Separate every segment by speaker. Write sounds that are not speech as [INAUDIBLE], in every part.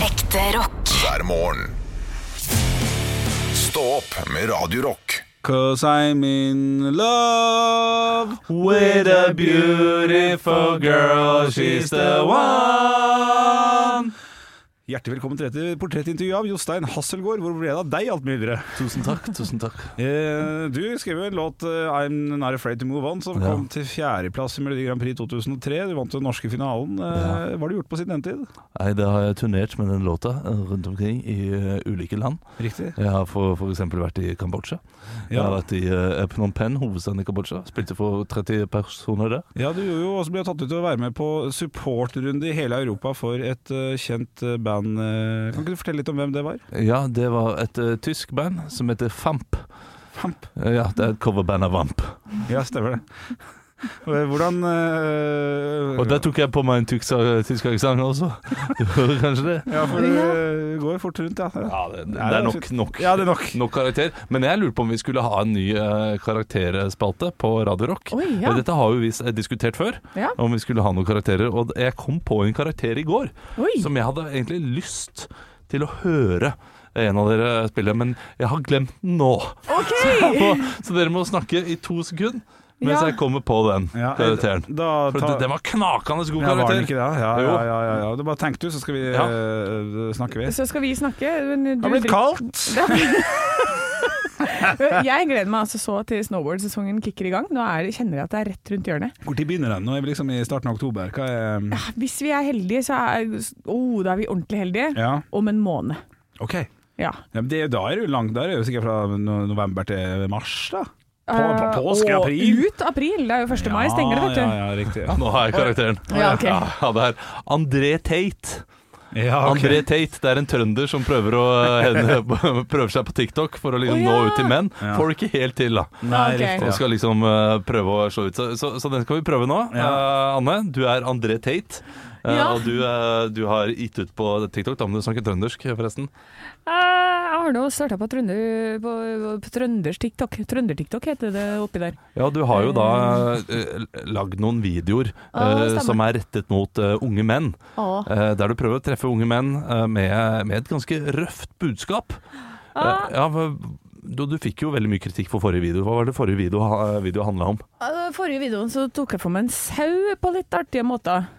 Speaker 1: Ekte rock.
Speaker 2: hver morgen. Stå opp med Radio Rock.
Speaker 3: Cause I'm in love with a beautiful girl, she's the one. Hjertelig velkommen til dette portrettintervjuet av Jostein Hasselgaard. Hvor ble det av deg, alt myldre?
Speaker 4: Tusen takk, tusen takk.
Speaker 3: Eh, du skrev jo en låt, eh, 'I'm Not Afraid To Move On', som
Speaker 4: Ja.
Speaker 3: kom til fjerdeplass i Melodi Grand Prix 2003. Du vant den norske finalen. Eh, Hva har du gjort på siden den tid?
Speaker 4: Nei, det har jeg turnert med den låta eh, rundt omkring i eh, ulike land.
Speaker 3: Riktig.
Speaker 4: Jeg har for, for eksempel vært i Kambodsja. Jeg har
Speaker 3: Ja,
Speaker 4: vært i eh, Phnom Penh, hovedstaden i Kambodsja. Spilte for 30 personer der.
Speaker 3: ja du gjorde jo også ble tatt ut til å være med på supportrunde i hele Europa for et eh, kjent eh, band. eh. Kan ikke du fortelle litt om hvem det var?
Speaker 4: Ja, det var et eh, tysk band som heter Famp.
Speaker 3: Famp.
Speaker 4: Eh, Ja, det er et coverband av Vamp.
Speaker 3: Ja, stemmer det. Hvordan eh,
Speaker 4: Og der tok jeg på meg en tyksa- tysk aksent også. [LAUGHS] Du hører kanskje det?
Speaker 3: Ja, for det går fort rundt, ja.
Speaker 4: Ja, det, det,
Speaker 3: det
Speaker 4: er
Speaker 3: er
Speaker 4: nok,
Speaker 3: fint.
Speaker 4: nok,
Speaker 3: Ja, det er nok.
Speaker 4: nok karakter. Men jeg lurte på om vi skulle ha en ny eh, karakterspalte på Radio Rock.
Speaker 5: Oi, ja.
Speaker 4: Eh, Dette har jo vi s- diskutert før,
Speaker 5: Ja.
Speaker 4: om vi skulle ha noen karakterer. Og jeg kom på en karakter i går
Speaker 5: Oi.
Speaker 4: som jeg hadde egentlig lyst til å høre en av dere spille, men jeg har glemt den nå.
Speaker 3: [LAUGHS]
Speaker 5: OK!
Speaker 4: Jeg må- [LAUGHS] Så dere må snakke i to sekunder mens
Speaker 5: Ja.
Speaker 4: jeg kommer på den
Speaker 3: Ja,
Speaker 4: karakteren.
Speaker 3: Da
Speaker 4: For
Speaker 3: ta,
Speaker 4: det, det var knakende god
Speaker 3: ja, var det ikke
Speaker 4: karakter.
Speaker 3: det? Ja,
Speaker 4: Jo.
Speaker 3: ja, ja. ja, ja. Det er bare tenk du, så skal vi
Speaker 4: Ja.
Speaker 3: eh, snakke. vi.
Speaker 5: Så skal vi snakke. Men du
Speaker 3: Det har blitt
Speaker 5: drikker-
Speaker 3: kaldt!
Speaker 5: [LAUGHS] Jeg gleder meg altså så til snowboardsesongen kicker i gang. Nå er, kjenner jeg at det er rett rundt hjørnet.
Speaker 3: Når begynner den? Nå er vi liksom i starten av oktober. Hva er
Speaker 5: Hvis vi er heldige, så er, oh, da er vi ordentlig heldige.
Speaker 3: Ja,
Speaker 5: Om en måned.
Speaker 3: OK. Ja,
Speaker 5: Ja.
Speaker 3: men det, da er det jo langt. Da er det jo sikkert fra no- november til mars, da. På, på
Speaker 5: Eh,
Speaker 3: påske,
Speaker 5: og
Speaker 3: april.
Speaker 5: Ut april. Det er jo 1. mai stenger det, vet du.
Speaker 3: Ja, ja, riktig. Ja,
Speaker 4: Nå har jeg karakteren.
Speaker 5: Ja, ok.
Speaker 4: ja, det er André Tate.
Speaker 3: Ja, ok.
Speaker 4: André Tate, det er en trønder som prøver, å, [LAUGHS] henne, prøver seg på TikTok for å liksom
Speaker 5: Å,
Speaker 4: nå
Speaker 5: ja.
Speaker 4: ut til menn.
Speaker 3: Ja.
Speaker 4: Får det ikke helt til, da.
Speaker 3: Nei,
Speaker 5: Ok.
Speaker 3: riktig.
Speaker 4: Og
Speaker 3: Ja.
Speaker 4: skal liksom eh, prøve å slå ut. Så, så, så den skal vi prøve nå. Eh, Anne, du er André Tate. Eh,
Speaker 6: Ja.
Speaker 4: Og du, eh, du har gitt ut på TikTok. Da må du snakke trøndersk, forresten.
Speaker 6: Eh, Jeg har nå starta på, trønder, på, på trønders TikTok. Trønder-TikTok heter det oppi der.
Speaker 4: Ja, du har jo da eh, lagd noen videoer
Speaker 6: Ah,
Speaker 4: eh,
Speaker 6: stemmer.
Speaker 4: som er rettet mot eh, unge menn. Eh, der du prøver å treffe unge menn eh, med, med et ganske røft budskap. Eh,
Speaker 6: Ah.
Speaker 4: ja, hva- du, du fikk jo veldig mye kritikk for forrige video. Hva var det forrige video, ha- video handla om?
Speaker 6: Eh, Forrige videoen så tok jeg for meg en sau på litt artige måter.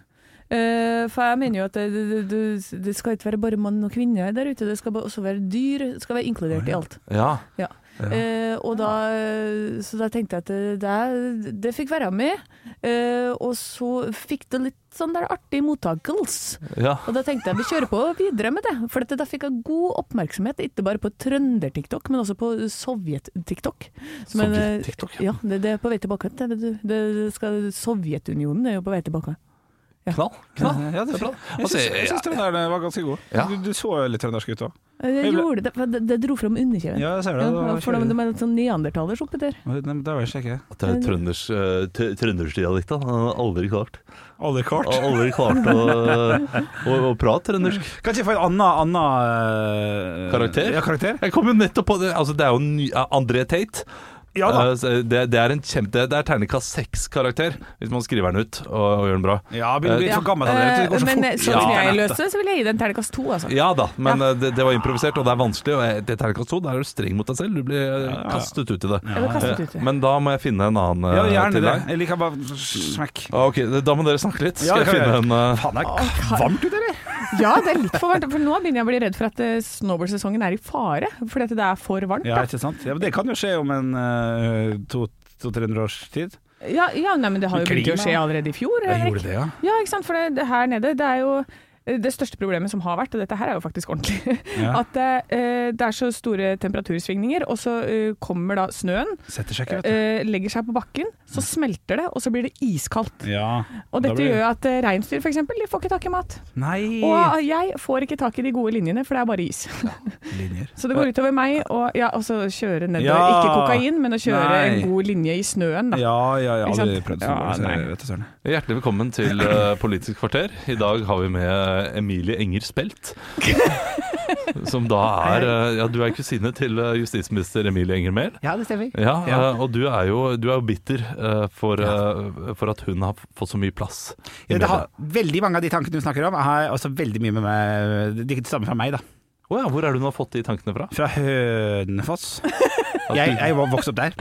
Speaker 6: Eh, for jeg mener jo at det, det, det, det skal ikke være bare mann og kvinne der ute, det skal ba- også være dyr. Det skal være inkludert i alt.
Speaker 4: Ja,
Speaker 6: Ja. Eh, og da, så da tenkte jeg at det, det, det fikk være med. Eh, og så fikk det litt sånn der artig mottakelse.
Speaker 4: ja.
Speaker 6: Og da tenkte jeg vi kjører på videre med det, for at da fikk jeg god oppmerksomhet, ikke bare på trønder-TikTok, men også på sovjet-TikTok. Men, eh,
Speaker 4: Sovjet-TikTok, ja.
Speaker 6: Ja, det, det er på vei tilbake. Det, det, det skal, Sovjetunionen er jo på vei tilbake.
Speaker 4: Knall. knall.
Speaker 6: Mhm.
Speaker 3: Ja, det er bra. Jeg
Speaker 4: Altså,
Speaker 3: syns, jeg syns den der eh, var ganske god.
Speaker 4: Ja.
Speaker 3: Du, du så jo litt trøndersk ut òg.
Speaker 6: Eh,
Speaker 3: Jeg
Speaker 6: Jeg
Speaker 3: ble-
Speaker 6: gjorde det, for det, det dro fram underkjeven.
Speaker 3: Ja, jeg ser det. det var
Speaker 6: for de, de er litt sånn neandertalers oppi der.
Speaker 3: kjedelig. Nei, men Det var jeg ikke.
Speaker 4: At det er trønders, eh, tr- trøndersdialekt, da. Han har Aldri klart.
Speaker 3: Aldri
Speaker 4: Han
Speaker 3: kort. [LAUGHS]
Speaker 4: har Aldri klart å, å, å prate trøndersk.
Speaker 3: Kan ikke jeg få en annen, annen eh,
Speaker 4: Karakter?
Speaker 3: Ja, karakter?
Speaker 4: Jeg kom jo nettopp på det. Altså, det er jo en ny, eh, André Tate.
Speaker 3: Ja da.
Speaker 4: Eh, så det, det er en kjempe Det er terningkast seks-karakter, hvis man skriver den ut og, og gjør den bra.
Speaker 3: Ja, begynner å bli
Speaker 4: Eh,
Speaker 3: for gammel. André. Det går sånn så
Speaker 6: men eh,
Speaker 3: fort.
Speaker 6: sånn som
Speaker 3: Ja.
Speaker 6: jeg løste det, så vil jeg gi det en terningkast to, altså.
Speaker 4: Ja da, men eh, Det, det var improvisert, og det er vanskelig. Og jeg- det er terningkast to, da er du streng mot deg selv. Du blir eh,
Speaker 3: ja.
Speaker 4: kastet ut i det.
Speaker 6: Jeg vil kaste det ut.
Speaker 4: Eh, Men da må jeg finne en annen eh,
Speaker 3: Ja, gjerne
Speaker 4: til
Speaker 3: det.
Speaker 4: deg.
Speaker 3: Jeg liker bare smekk.
Speaker 4: Ah, Ok, Da må dere snakke litt.
Speaker 3: Ja,
Speaker 4: Skal
Speaker 3: det kan
Speaker 4: jeg finne
Speaker 3: jeg
Speaker 4: en eh,
Speaker 3: Faen, det er varmt ute, eller?
Speaker 6: Ja, det er litt for varmt. For nå begynner jeg å bli redd for at eh, snowboardsesongen er i fare, fordi at det er for varmt.
Speaker 3: Ja,
Speaker 6: Da.
Speaker 3: ikke sant? Ja, men det kan jo skje om en eh, to 200-300 års tid.
Speaker 6: Ja, ja nei, men det har jo begynt å
Speaker 3: Klima.
Speaker 6: skje allerede i fjor. Henrik.
Speaker 3: det, ja.
Speaker 6: Ja, ikke sant? For det, det her nede, det er jo eh, det største problemet som har vært, og dette her er jo faktisk ordentlig, [LAUGHS]
Speaker 3: ja.
Speaker 6: at eh, det er så store temperatursvingninger, og så eh, kommer da snøen,
Speaker 3: Setter seg ikke, vet
Speaker 6: eh, legger seg på bakken, så smelter det, og så blir det iskaldt.
Speaker 3: du. Mm. Ja. Da
Speaker 6: Og
Speaker 3: blir
Speaker 6: dette
Speaker 3: det-
Speaker 6: gjør jo at eh, reinsdyr f.eks. de får ikke tak i mat.
Speaker 3: Nei!
Speaker 6: Og jeg får ikke tak i de gode linjene, for det er bare is.
Speaker 3: Linjer.
Speaker 6: [LAUGHS] Så det går utover meg, og ja, altså kjøre nedover.
Speaker 3: Ja.
Speaker 6: Ikke kokain, men å kjøre
Speaker 3: Nei.
Speaker 6: en god linje i snøen, da.
Speaker 3: Ja, ja, ja.
Speaker 6: Ikke sant?
Speaker 3: Aldri prøvd
Speaker 6: Ja,
Speaker 3: sånn.
Speaker 6: nei.
Speaker 3: vet du søren.
Speaker 4: Hjertelig velkommen til eh, Politisk kvarter. I dag har vi med eh, Emilie Enger
Speaker 3: [LAUGHS]
Speaker 4: Spelt. som da er eh, Ja, du er kusine til eh, justisminister Emilie Enger Mehl.
Speaker 3: Ja, det stemmer.
Speaker 4: Ja,
Speaker 3: Ja.
Speaker 4: eh, og du er jo, du er jo bitter eh, for, eh, for at hun har fått så mye plass. i
Speaker 3: Ja, det har,
Speaker 4: media.
Speaker 3: veldig mange av de tankene du snakker om, har også veldig mye med meg De stammer fra meg, da.
Speaker 4: Å ja, hvor er det hun har fått de tankene fra?
Speaker 3: Fra Hønefoss. [LAUGHS]
Speaker 4: At
Speaker 3: Jeg,
Speaker 4: du-
Speaker 3: jeg var vokst opp der.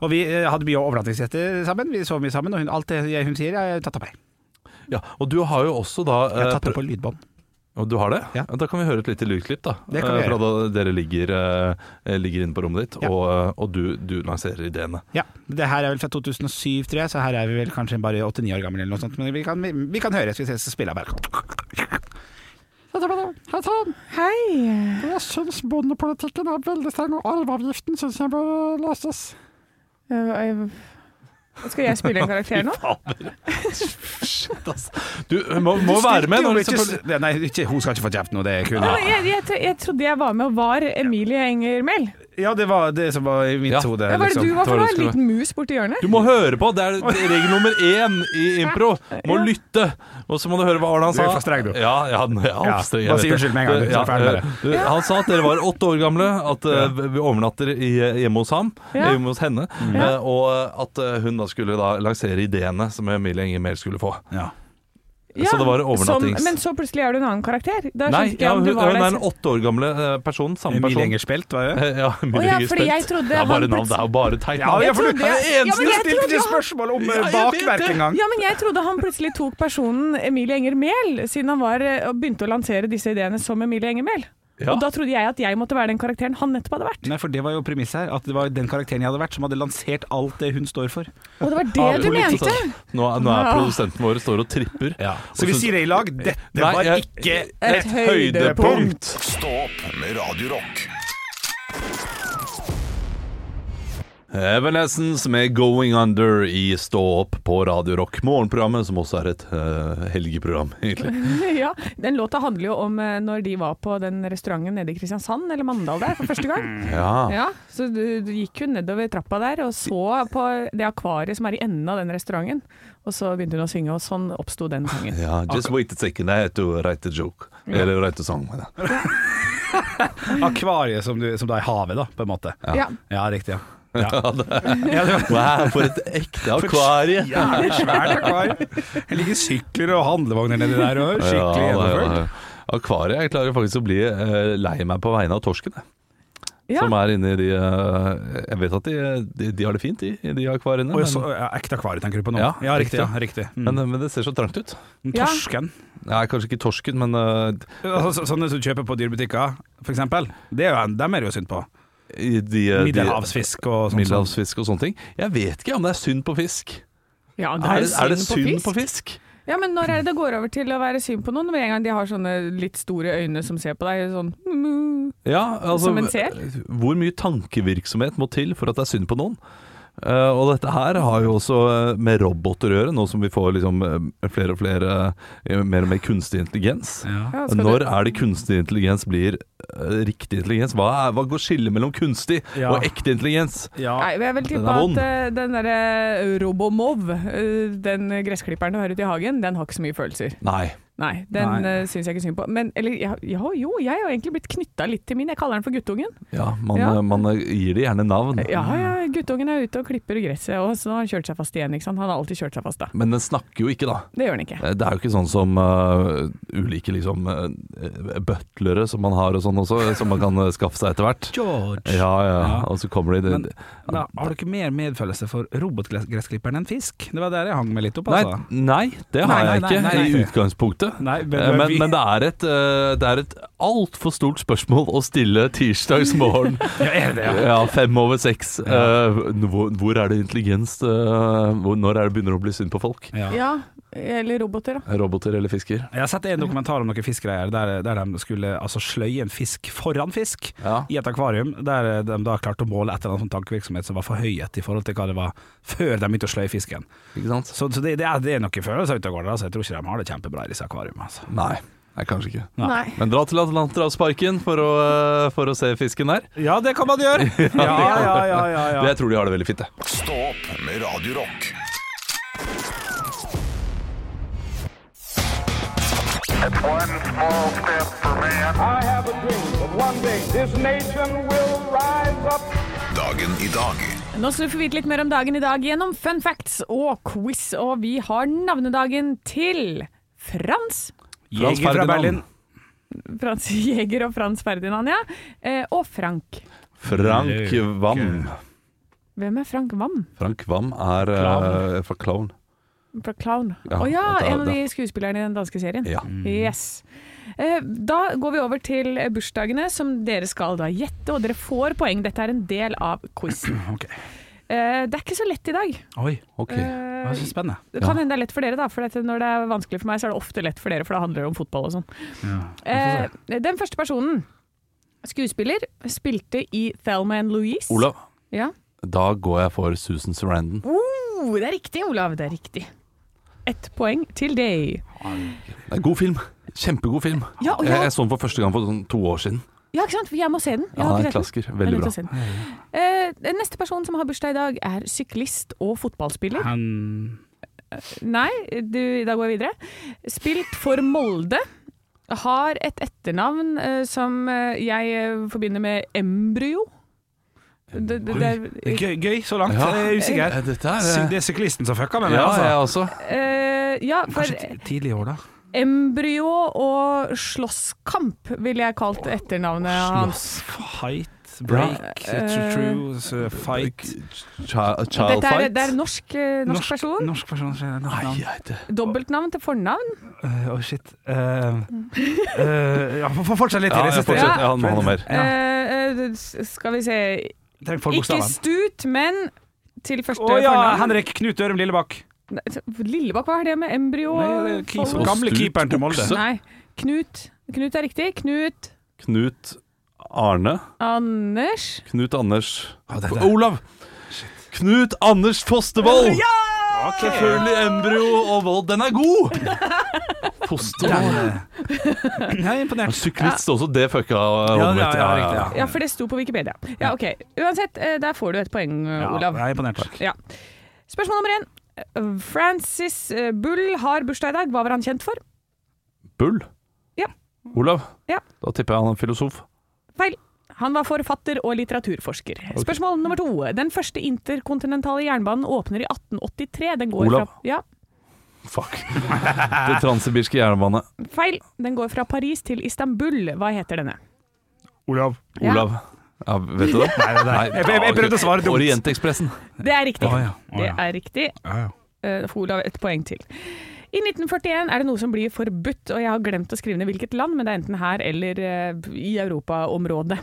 Speaker 3: Og vi eh, hadde mye overnattingsgjester sammen. Vi sov mye sammen, og hun, alt det jeg- hun sier, jeg har tatt av meg.
Speaker 4: ja, og du har jo også da
Speaker 3: Jeg har
Speaker 4: eh,
Speaker 3: tatt det på lydbånd.
Speaker 4: Og du har det?
Speaker 3: Ja.
Speaker 4: Da kan vi høre et lite lydklipp, da.
Speaker 3: Det kan vi
Speaker 4: Eh, Fra da dere ligger, eh, ligger inne på rommet ditt,
Speaker 3: Ja.
Speaker 4: og, eh, og du, du lanserer ideene.
Speaker 3: Ja, Det her er vel fra 2007, tror jeg, så her er vi vel kanskje bare 8-9 år gamle eller noe sånt. Men vi kan, vi, vi kan høre, så vi skal spille av bare.
Speaker 6: Hei!
Speaker 3: Jeg syns bondepolitikken er veldig streng, og arveavgiften syns jeg bør løses.
Speaker 6: Jeg- jeg- Eh, Skal jeg spille en karakter nå?
Speaker 4: Shit, ass. Du
Speaker 3: eh,
Speaker 4: hun må, må være med!
Speaker 3: liksom
Speaker 4: Når du selvfølgelig-
Speaker 3: Nei, ikke, hun skal ikke få kjeft nå, det er kun
Speaker 6: Nei, Jeg, jeg, tro- jeg trodde jeg var med og var Emilie Enger Mehl.
Speaker 3: Ja, det var det som var i mitt
Speaker 4: Ja.
Speaker 3: hode.
Speaker 6: Ja, Hva er det
Speaker 3: liksom.
Speaker 6: du var for
Speaker 4: Tror
Speaker 6: noe?
Speaker 4: det skulle
Speaker 6: En liten mus borti hjørnet?
Speaker 4: du må høre på! Det er regel nummer én i impro. Må
Speaker 6: Ja.
Speaker 4: lytte! Og så må du høre hva Arne han
Speaker 3: Du
Speaker 4: sa.
Speaker 3: er for streng, du.
Speaker 4: Ja, ja, den- ja,
Speaker 3: Ja,
Speaker 4: for streng, jeg
Speaker 3: bare
Speaker 4: vet
Speaker 3: si
Speaker 4: det.
Speaker 3: unnskyld med en gang, du, så er
Speaker 4: Ja,
Speaker 3: ferdig med det.
Speaker 4: eh, du, Han sa at dere var åtte år gamle, at eh, vi overnatter i, hjemme hos ham,
Speaker 6: Ja.
Speaker 4: hjemme hos henne,
Speaker 3: Mm.
Speaker 4: eh, og at eh, hun da skulle da lansere ideene som Emilie Enger Mehl skulle få.
Speaker 3: Ja.
Speaker 4: Så det var
Speaker 6: Som,
Speaker 4: overnattings...
Speaker 6: men så plutselig er du en annen karakter. Da skjønte
Speaker 4: Nei,
Speaker 6: ikke
Speaker 4: ja,
Speaker 6: jeg om
Speaker 4: hun,
Speaker 6: du var
Speaker 4: hun er en
Speaker 6: der.
Speaker 4: åtte år gamle eh, person. Samme
Speaker 3: Emil
Speaker 4: [LAUGHS] person.
Speaker 3: Enger Spelt, var det?
Speaker 4: Eh, Ja, Emilie
Speaker 7: Å ja,
Speaker 4: Enger
Speaker 7: fordi
Speaker 4: Spelt.
Speaker 7: jeg trodde
Speaker 4: det er bare
Speaker 7: han
Speaker 4: navn, det er jo bare tegn.
Speaker 3: Ja, ja, for du er den
Speaker 6: Ja,
Speaker 3: eneste
Speaker 6: men
Speaker 3: som
Speaker 6: jeg
Speaker 3: stilte
Speaker 6: trodde
Speaker 3: de
Speaker 6: han-
Speaker 3: spørsmål om eh,
Speaker 4: jeg vet
Speaker 3: bakverk
Speaker 4: det.
Speaker 3: engang.
Speaker 6: Ja, men jeg trodde han plutselig tok personen Emilie Enger Mehl, siden han var, eh, og begynte å lansere disse ideene som Emilie Enger Mehl.
Speaker 4: Ja.
Speaker 6: Og da trodde jeg at jeg måtte være den karakteren han nettopp hadde vært.
Speaker 3: Nei, for det var jo premisset her, at det var den karakteren jeg hadde vært, som hadde lansert alt det hun står for.
Speaker 6: Og det var
Speaker 4: Av
Speaker 6: det du
Speaker 4: politikk.
Speaker 6: mente!
Speaker 4: Nå, er- nå er
Speaker 6: Ja.
Speaker 4: produsenten vår står og tripper.
Speaker 3: Så vi sier det i lag. Dette
Speaker 4: Nei,
Speaker 3: var
Speaker 4: jeg-
Speaker 3: ikke
Speaker 4: Et høydepunkt!
Speaker 2: Stå opp med Radio Rock.
Speaker 4: Evanescence med 'Going Under' i Stå opp på Radio Rock. Morgenprogrammet, som også er et eh, helgeprogram, [LAUGHS] egentlig.
Speaker 6: [LAUGHS] Ja, Den låta handler jo om eh, når de var på den restauranten nede i Kristiansand, eller Mandal der, for første gang.
Speaker 4: Ja.
Speaker 6: Ja, Så du, du gikk hun nedover trappa der og så på det akvariet som er i enden av den restauranten. Og så begynte hun å synge, og sånn oppsto den sangen.
Speaker 4: Ja, just wait a second, I have to write a joke. Eller write a song. mener jeg.
Speaker 3: akvariet som, du, som da er i havet, da, på en måte. Ja,
Speaker 6: Ja.
Speaker 3: riktig. Ja. Ja.
Speaker 4: Ja, det er-
Speaker 3: Ja, det var
Speaker 4: Wow, for et ekte akvarie!
Speaker 3: ja, det er svært akvarium. Det ligger sykler og handlevogner nedi der og skikkelig
Speaker 4: Ja, det er-
Speaker 3: gjennomført.
Speaker 4: Akvariet jeg klarer faktisk å bli eh, lei meg på vegne av torsken, jeg.
Speaker 6: Ja.
Speaker 4: Som er inni de eh, Jeg vet at de, de, de har det fint, de, i de akvariene.
Speaker 3: Og
Speaker 4: Men,
Speaker 3: jeg så, ja, ekte akvariet tenker du på nå?
Speaker 4: Ja,
Speaker 3: Ja, riktig. Ja, riktig. Mm.
Speaker 4: men, men det ser så trangt ut.
Speaker 6: Ja.
Speaker 3: Torsken.
Speaker 4: Nei, kanskje ikke torsken, men eh,
Speaker 3: Altså, så- sånne som du kjøper på dyrebutikker, for eksempel. Det er jo, dem er det jo synd på.
Speaker 4: i de, eh, de-
Speaker 3: Middelhavsfisk og sånn. sånn.
Speaker 4: middelhavsfisk og sånne ting. Jeg vet ikke om det er synd på fisk.
Speaker 6: Ja, det
Speaker 4: Er
Speaker 6: er,
Speaker 4: det, er det
Speaker 6: synd på fisk.
Speaker 4: fisk?
Speaker 6: Ja, men når er det det går over til å være synd på noen? Med en gang de har sånne litt store øyne som ser på deg, sånn mm,
Speaker 4: Ja, altså,
Speaker 6: Som en sel?
Speaker 4: Hvor mye tankevirksomhet må til for at det er synd på noen? Eh, og dette her har jo også eh, med roboter å gjøre, nå som vi får liksom, eh, flere og flere eh, mer og mer kunstig intelligens.
Speaker 3: Ja.
Speaker 6: ja, skal
Speaker 4: Når
Speaker 6: du-
Speaker 4: er det kunstig intelligens blir eh, riktig intelligens? Hva, er, hva går skillet mellom kunstig
Speaker 3: Ja.
Speaker 4: og ekte intelligens?
Speaker 6: Nei,
Speaker 3: Ja.
Speaker 6: jeg vil
Speaker 4: Den
Speaker 6: tippe
Speaker 4: er
Speaker 6: at
Speaker 4: vond.
Speaker 6: eh, den derre øh, Robomov, eh, den gressklipperen du har ute i hagen, den har ikke så mye følelser.
Speaker 4: Nei.
Speaker 6: Nei, den
Speaker 3: Nei.
Speaker 6: uh, syns jeg ikke synd på. Men eller ja, ja, jo, jeg har egentlig blitt knytta litt til min. Jeg kaller den for guttungen.
Speaker 4: Ja, man,
Speaker 6: Ja.
Speaker 4: eh, man gir det gjerne navn.
Speaker 6: Ja, ja, guttungen er ute og klipper gresset, og så har han kjørt seg fast igjen. ikke sant? Han har alltid kjørt seg fast, da.
Speaker 4: Men den snakker jo ikke, da.
Speaker 6: Det gjør han ikke.
Speaker 4: Eh, Det er jo ikke sånn som eh, ulike liksom, eh, butlere som man har og sånn også, eh, som man kan eh, skaffe seg etter hvert.
Speaker 3: George.
Speaker 4: Ja, ja,
Speaker 3: Ja.
Speaker 4: og så kommer de
Speaker 3: Men da, har du ikke mer medfølelse for robotgressklipperen enn fisk? Det var der jeg hang meg litt opp,
Speaker 4: Nei,
Speaker 3: altså.
Speaker 4: nei, det har
Speaker 3: Nei, nei,
Speaker 4: jeg
Speaker 3: nei,
Speaker 4: ikke
Speaker 3: nei, nei.
Speaker 4: i utgangspunktet.
Speaker 3: Nei, men-
Speaker 4: Eh, men,
Speaker 3: vi-
Speaker 4: men det er et, eh, det er et altfor stort spørsmål å
Speaker 3: [LAUGHS]
Speaker 4: stille tirsdagsmorgen
Speaker 3: Ja, er det det?
Speaker 4: ja, fem over seks. Eh, hvor, hvor er det intelligens eh, hvor, Når er det begynner å bli synd på folk?
Speaker 3: Ja.
Speaker 6: Ja, eller roboter, da.
Speaker 4: Roboter eller fisker?
Speaker 3: Jeg har sett en dokumentar om noen fiskegreier der, der de skulle altså, sløye en fisk foran fisk
Speaker 4: Ja.
Speaker 3: i et akvarium, der eh, de da klarte å måle et eller annet sånn tankevirksomhet som var forhøyet i forhold til hva det var før de begynte å sløye fisken.
Speaker 4: Ikke sant?
Speaker 3: Så, så det, det, er, det er noen følelser ute og går der, altså. Jeg tror ikke de har det kjempebra i disse akvariene. Altså.
Speaker 4: Nei, nei, kanskje ikke.
Speaker 3: Nei.
Speaker 7: Nei.
Speaker 4: Men dra til Atlanterhavsparken for, å, eh, for å se fisken der.
Speaker 3: Ja, det kan man gjøre! [LAUGHS] ja, ja, ja, ja, ja.
Speaker 4: Jeg tror de har [LAUGHS] det veldig fint, jeg.
Speaker 2: Stå opp med Radio Rock.
Speaker 8: One small step for man. I have a dream that one day this nation will rise up.
Speaker 2: Dagen i dag
Speaker 6: Nå skal du få vite litt mer om dagen i dag gjennom fun facts og quiz, og vi har navnedagen til Frans.
Speaker 3: Jeger fra
Speaker 4: Ferdinand.
Speaker 3: Berlin.
Speaker 6: Frans Jæger og Frans Ferdinand, ja. Eh, og Frank.
Speaker 4: Frank Wam.
Speaker 6: Hvem er Frank Wam?
Speaker 4: Frank Wam er eh, fra Clown.
Speaker 6: Fra Clown. Å
Speaker 4: Ja,
Speaker 6: ja,
Speaker 4: da-
Speaker 6: en av
Speaker 4: da-
Speaker 6: de skuespillerne i den danske serien. Mm.
Speaker 4: Ja.
Speaker 3: Mm.
Speaker 6: Yes. Eh, Da går vi over til bursdagene, som dere skal da gjette, og dere får poeng. Dette er en del av quizen.
Speaker 3: Ok.
Speaker 6: Eh, Det er ikke så lett i dag. Eh,
Speaker 3: Oi,
Speaker 4: Ok.
Speaker 3: det var så spennende.
Speaker 6: Det kan hende det er lett for dere, da, for dette, når det er vanskelig for meg, så er det ofte lett for dere, for da handler det om fotball og sånn. Eh, den første personen, skuespiller, spilte i Thelma and Louise.
Speaker 4: Olav,
Speaker 6: Ja.
Speaker 4: da går jeg for Susan Sarandon.
Speaker 6: Oh, det er riktig, Olav. Det er riktig. Ett poeng til deg.
Speaker 4: Det er god film. Kjempegod film.
Speaker 6: Ja, og
Speaker 4: Jeg,
Speaker 6: jeg,
Speaker 4: jeg så den for første gang for sånn to år siden.
Speaker 6: ja, ikke sant? For Jeg må se den. Jeg
Speaker 4: Ja,
Speaker 6: har
Speaker 4: det er
Speaker 6: ikke
Speaker 4: en
Speaker 6: sett den.
Speaker 4: klassiker.
Speaker 6: Jeg er
Speaker 4: Veldig
Speaker 6: nødt
Speaker 4: bra.
Speaker 6: til å se den. Eh, neste person som har bursdag i dag, er syklist og fotballspiller.
Speaker 3: Han
Speaker 6: Nei, du, da går jeg videre. Spilt for Molde. Har et etternavn eh, som eh, jeg eh, forbinder med embryo. Det, det, det,
Speaker 3: det er gøy, gøy så langt.
Speaker 4: Ja.
Speaker 3: Jeg er usikker.
Speaker 4: Eh, Dette er
Speaker 3: Sy-
Speaker 4: eh,
Speaker 3: Det er syklisten som fucka med meg,
Speaker 4: Ja, jeg
Speaker 3: altså.
Speaker 4: også.
Speaker 6: eh, ja, for
Speaker 3: Kanskje ti- tidlig i år, da.
Speaker 6: embryo og slåsskamp ville jeg kalt etternavnet hans.
Speaker 3: Fight, break,
Speaker 6: Eh,
Speaker 3: true, s- fight
Speaker 4: Child, child
Speaker 6: Dette er,
Speaker 4: Fight.
Speaker 6: det er norsk, eh, norsk, person.
Speaker 3: Norsk person. så er det norsk
Speaker 4: Nei,
Speaker 3: navn.
Speaker 4: jeg vet det.
Speaker 6: Dobbeltnavn til fornavn.
Speaker 3: Eh, oh, shit. Eh, eh, ja, få- få fortsette litt.
Speaker 4: Ja,
Speaker 3: Therese.
Speaker 4: jeg fortsetter. Ja, han må ha noe mer.
Speaker 3: Ja,
Speaker 6: Eh, eh, s- skal vi se
Speaker 3: Trenger få
Speaker 6: Ikke
Speaker 3: bokstavene.
Speaker 6: Stut, men til første
Speaker 3: Å ja,
Speaker 6: fornavn.
Speaker 3: Henrik Knut Ørum Lillebakk.
Speaker 6: Nei, så- Lillebakk, hva har det med embryo?
Speaker 3: Nei, det er
Speaker 6: og-
Speaker 3: Kis- Gamle
Speaker 4: Stut
Speaker 3: keeperen til Molde.
Speaker 4: Okse.
Speaker 6: Nei, Knut. Knut er riktig. Knut
Speaker 4: Knut Arne.
Speaker 6: Anders.
Speaker 4: Knut Anders Olav! Knut Anders Fostervoll! Selvfølgelig embryo og vold. Den
Speaker 3: [LAUGHS]
Speaker 4: er god! Fostervoll.
Speaker 3: Jeg er imponert.
Speaker 4: Syklist også, det fucka
Speaker 3: Ja,
Speaker 4: hodet
Speaker 3: ja,
Speaker 4: mitt.
Speaker 3: ja, riktig, ja.
Speaker 6: Ja, for det sto på Wikipedia. Ja, ok. Uansett, eh, der får du et poeng, eh,
Speaker 3: Ja,
Speaker 6: Olav.
Speaker 3: Jeg er imponert.
Speaker 6: Ja. Spørsmål nummer én. Eh, Francis eh, Bull har bursdag i dag. Hva var han kjent for?
Speaker 4: Bull.
Speaker 6: Ja.
Speaker 4: Olav,
Speaker 6: Ja.
Speaker 4: da tipper jeg han er filosof.
Speaker 6: Feil. Han var forfatter og litteraturforsker. Spørsmål nummer to. Den første interkontinentale jernbanen åpner i 1883. Den går
Speaker 4: Olav.
Speaker 6: fra Ja,
Speaker 4: Fuck. [LAUGHS] Det transsibirske jernbane.
Speaker 6: feil. Den går fra Paris til Istanbul. Hva heter denne?
Speaker 3: Olav.
Speaker 6: Ja.
Speaker 4: Olav. Ja, vet du det? Nei,
Speaker 3: Jeg- jeg- jeg prøvde å svare dumt.
Speaker 4: Orientekspressen.
Speaker 6: Det er riktig.
Speaker 3: Å ja, å
Speaker 6: Det
Speaker 3: ja.
Speaker 6: er riktig. Eh, får Olav et poeng til. I 1941 er det noe som blir forbudt, og jeg har glemt å skrive ned hvilket land, men det er enten her eller eh, i europaområdet.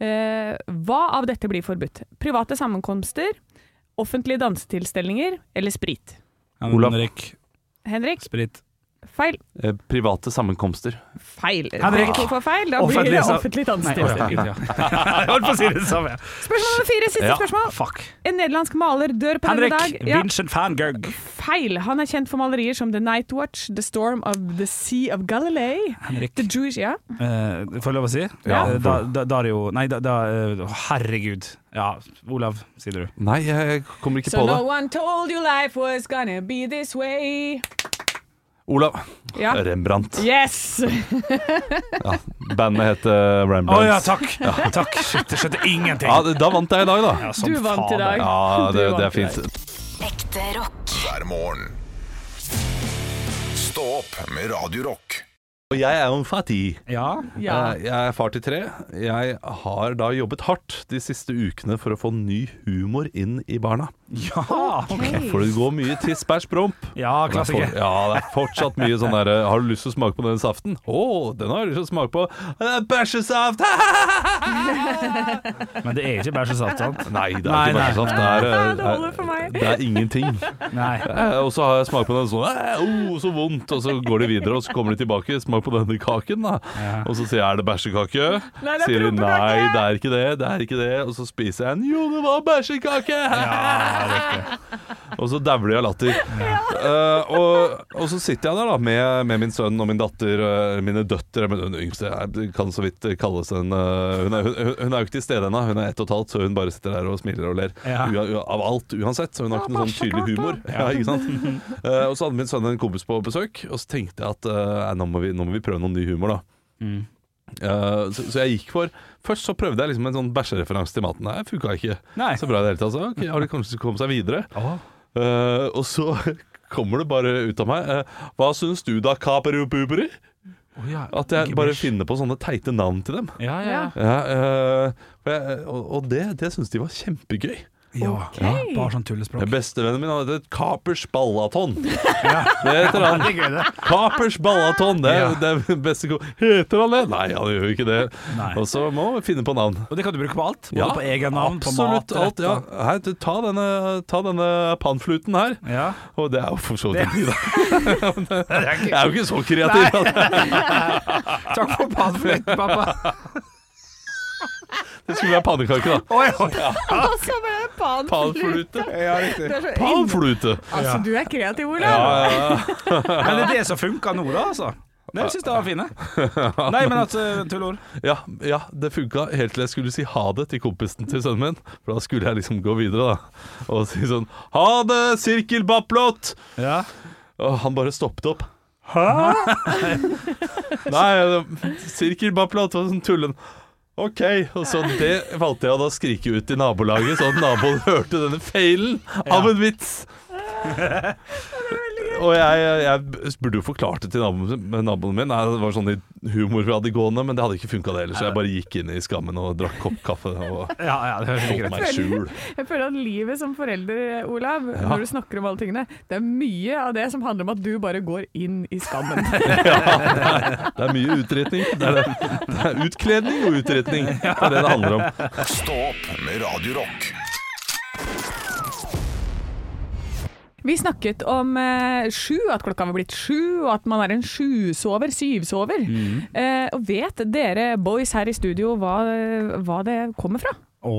Speaker 6: Eh, hva av dette blir forbudt? Private sammenkomster, offentlige dansetilstelninger eller sprit?
Speaker 4: Olav.
Speaker 3: Henrik.
Speaker 6: Henrik,
Speaker 3: Sprit.
Speaker 6: feil.
Speaker 4: Eh, Private sammenkomster.
Speaker 6: Feil.
Speaker 3: Henrik.
Speaker 6: To for feil. Da blir
Speaker 3: Offentlig
Speaker 6: det
Speaker 3: sam- Nei,
Speaker 6: offentlig
Speaker 3: å ja, [LAUGHS]
Speaker 6: dansetilstelning.
Speaker 3: gud, ja. Jeg holdt på å si det samme.
Speaker 6: Spørsmål nummer fire, siste
Speaker 4: Ja.
Speaker 6: spørsmål.
Speaker 3: Fuck.
Speaker 6: En nederlandsk maler dør på denne dag.
Speaker 3: Henrik
Speaker 6: Ja,
Speaker 3: Vincent van Gogh.
Speaker 6: feil. Han er kjent for malerier som The Night Watch, The Storm of the Sea of Galilee,
Speaker 3: Henrik.
Speaker 6: The Jewish Ja.
Speaker 3: Eh, får jeg lov å si?
Speaker 4: Ja.
Speaker 3: Eh, da, da, Dario Nei, da, da eh, å, Herregud. Ja, Olav, sier du.
Speaker 4: Nei, jeg kommer ikke
Speaker 6: So
Speaker 4: på det.
Speaker 6: no one told you life was gonna be this way.
Speaker 4: Olav.
Speaker 6: Ja.
Speaker 4: Rembrandt.
Speaker 6: [LAUGHS] Yes!
Speaker 4: Bandet heter
Speaker 3: Å
Speaker 4: Rembrandt.
Speaker 3: ja, takk! Takk. Shit, jeg skjønte ingenting.
Speaker 4: Ja, det- da vant jeg i dag, da.
Speaker 3: Ja, som
Speaker 6: Du vant i
Speaker 3: faen,
Speaker 6: dag.
Speaker 3: det.
Speaker 4: Ja, [LAUGHS]
Speaker 6: Du
Speaker 4: det, det
Speaker 6: vant
Speaker 4: er
Speaker 6: i dag.
Speaker 4: fint.
Speaker 1: Ekte rock.
Speaker 2: hver morgen. Stå opp med Radio Rock.
Speaker 4: Og jeg er jo en fattig.
Speaker 3: Ja.
Speaker 6: Ja.
Speaker 4: Eh, Jeg er far til tre. Jeg har da jobbet hardt de siste ukene for å få ny humor inn i barna.
Speaker 3: Ja,
Speaker 4: For det går mye tiss, bæsj, promp.
Speaker 3: ja
Speaker 4: Det er for-
Speaker 3: klassiker.
Speaker 4: Ja, det er fortsatt mye sånn derre Har du lyst til å smake på den saften? Å, den har jeg lyst til å smake på. Det er bæsjesaft! [LAUGHS]
Speaker 3: Men det er ikke bare så sant, sant?
Speaker 4: Nei, det er
Speaker 3: Nei, nei.
Speaker 4: ikke bæsjesaft. Det er, eh,
Speaker 6: Det holder for meg.
Speaker 4: Det er ingenting.
Speaker 3: Nei.
Speaker 4: Eh, Og så har jeg smakt på den sånn «Æ, oh, så vondt. Og så går de videre, og så kommer de tilbake. Smak på denne kaken, da. Og så sier jeg er det bæsjekake?
Speaker 6: Nei, det er
Speaker 4: sier de nei,
Speaker 6: prompekake!»
Speaker 4: det er ikke det. det er ikke det Og så spiser jeg en jo, det var bæsjekake! Og så dauer de av latter. Eh, og, og så sitter jeg der da med, med min sønn og min datter, eh, mine døtre Men hun yngste er- kan så vidt kalles en eh, Hun er, hun, hun er jo ikke til stede ennå, hun er ett og et halvt, så hun bare sitter der og smiler og ler.
Speaker 3: Ja.
Speaker 4: Ua, ua, av alt, uansett. Så hun har ikke noe sånn tydelig humor. Ja, ikke sant? Eh, og så hadde min sønn en kompis på besøk, og så tenkte jeg at eh, nå, må vi, nå må vi prøve noen ny humor, da.
Speaker 3: Mm.
Speaker 4: Eh, så, så jeg gikk for Først så prøvde jeg liksom en sånn bæsjereferanse til maten. Nei, funka ikke.
Speaker 3: Nei.
Speaker 4: Så bra i det hele tatt. Så, ok, har de kanskje kommet seg videre?
Speaker 3: Åh.
Speaker 4: Eh, og så [LAUGHS] kommer det bare ut av meg eh, Hva syns du da, kaperupuperi?
Speaker 3: Å, ja.
Speaker 4: At jeg
Speaker 3: Ikke
Speaker 4: bare
Speaker 3: bæsj.
Speaker 4: finner på sånne teite navn til dem.
Speaker 3: Ja, ja.
Speaker 5: Ja.
Speaker 4: Ja, eh, for jeg, og og det, det syns de var kjempegøy.
Speaker 3: ja. ja. Bare sånn tullespråk.
Speaker 4: Bestevennen min hadde et kapers
Speaker 3: [LAUGHS]
Speaker 4: ballaton. Det heter han. Kapers ballaton. Det er
Speaker 3: Ja.
Speaker 4: det er beste ko... Heter han det? Nei, han gjør jo ikke det.
Speaker 3: Nei.
Speaker 4: Og så må vi finne på navn.
Speaker 3: Og det kan du bruke på alt? Både på egen navn, på
Speaker 4: absolutt
Speaker 3: mat
Speaker 4: alt. Ja. Hei, du, ta denne, ta denne panfluten her.
Speaker 3: ja. ja.
Speaker 4: Og det er jo for så vidt ikke det. [LAUGHS]
Speaker 3: Det er
Speaker 4: Jeg er jo ikke så kreativ. at
Speaker 3: Takk for panfløyten, pappa.
Speaker 4: Det skulle være pannekake, da.
Speaker 3: Oi, oi.
Speaker 6: Og så ble det panflute.
Speaker 4: Panflute.
Speaker 3: Ja, riktig.
Speaker 6: Det er så inn-
Speaker 4: Panflute!
Speaker 6: Altså, du er kreativ, Olav.
Speaker 4: Ja, ja, ja.
Speaker 3: [LAUGHS] Men det er det som funka nå, da, altså. Det syns jeg var fine. Nei, men altså, tullord.
Speaker 4: Ja, ja, det funka helt til jeg skulle si ha det til kompisen til sønnen min. For da skulle jeg liksom gå videre, da. Og si sånn Ha det, sirkelbapplott!
Speaker 3: Ja.
Speaker 4: Og han bare stoppet opp. Hæ? [LAUGHS] Nei, sirkelbapplott var sånn tullen. OK. Og så det valgte jeg å da skrike ut i nabolaget, sånn at naboen [LAUGHS] hørte denne feilen av en vits. Og jeg, jeg burde jo forklart det til naboen, men naboen min. Nei, Det var sånn i humor vi hadde gående, men det hadde ikke funka det heller. Så jeg bare gikk inn i skammen og drakk kopp kaffe og
Speaker 3: Ja, ja, det høres
Speaker 4: holdt
Speaker 3: greit ut.
Speaker 4: meg i skjul.
Speaker 6: Jeg føler at livet som forelder, Olav, når du snakker om alle tingene, det er mye av det som handler om at du bare går inn i skammen. [LAUGHS]
Speaker 4: Det er mye utretning. Det er, det er utkledning og utretning. Det er det det handler om.
Speaker 2: Stå opp med Radio Rock.
Speaker 6: Vi snakket om eh, sju, at klokka var blitt sju, og at man er en sjusover, syvsover. Eh, og vet dere boys her i studio hva, hva det kommer fra?
Speaker 3: Åh,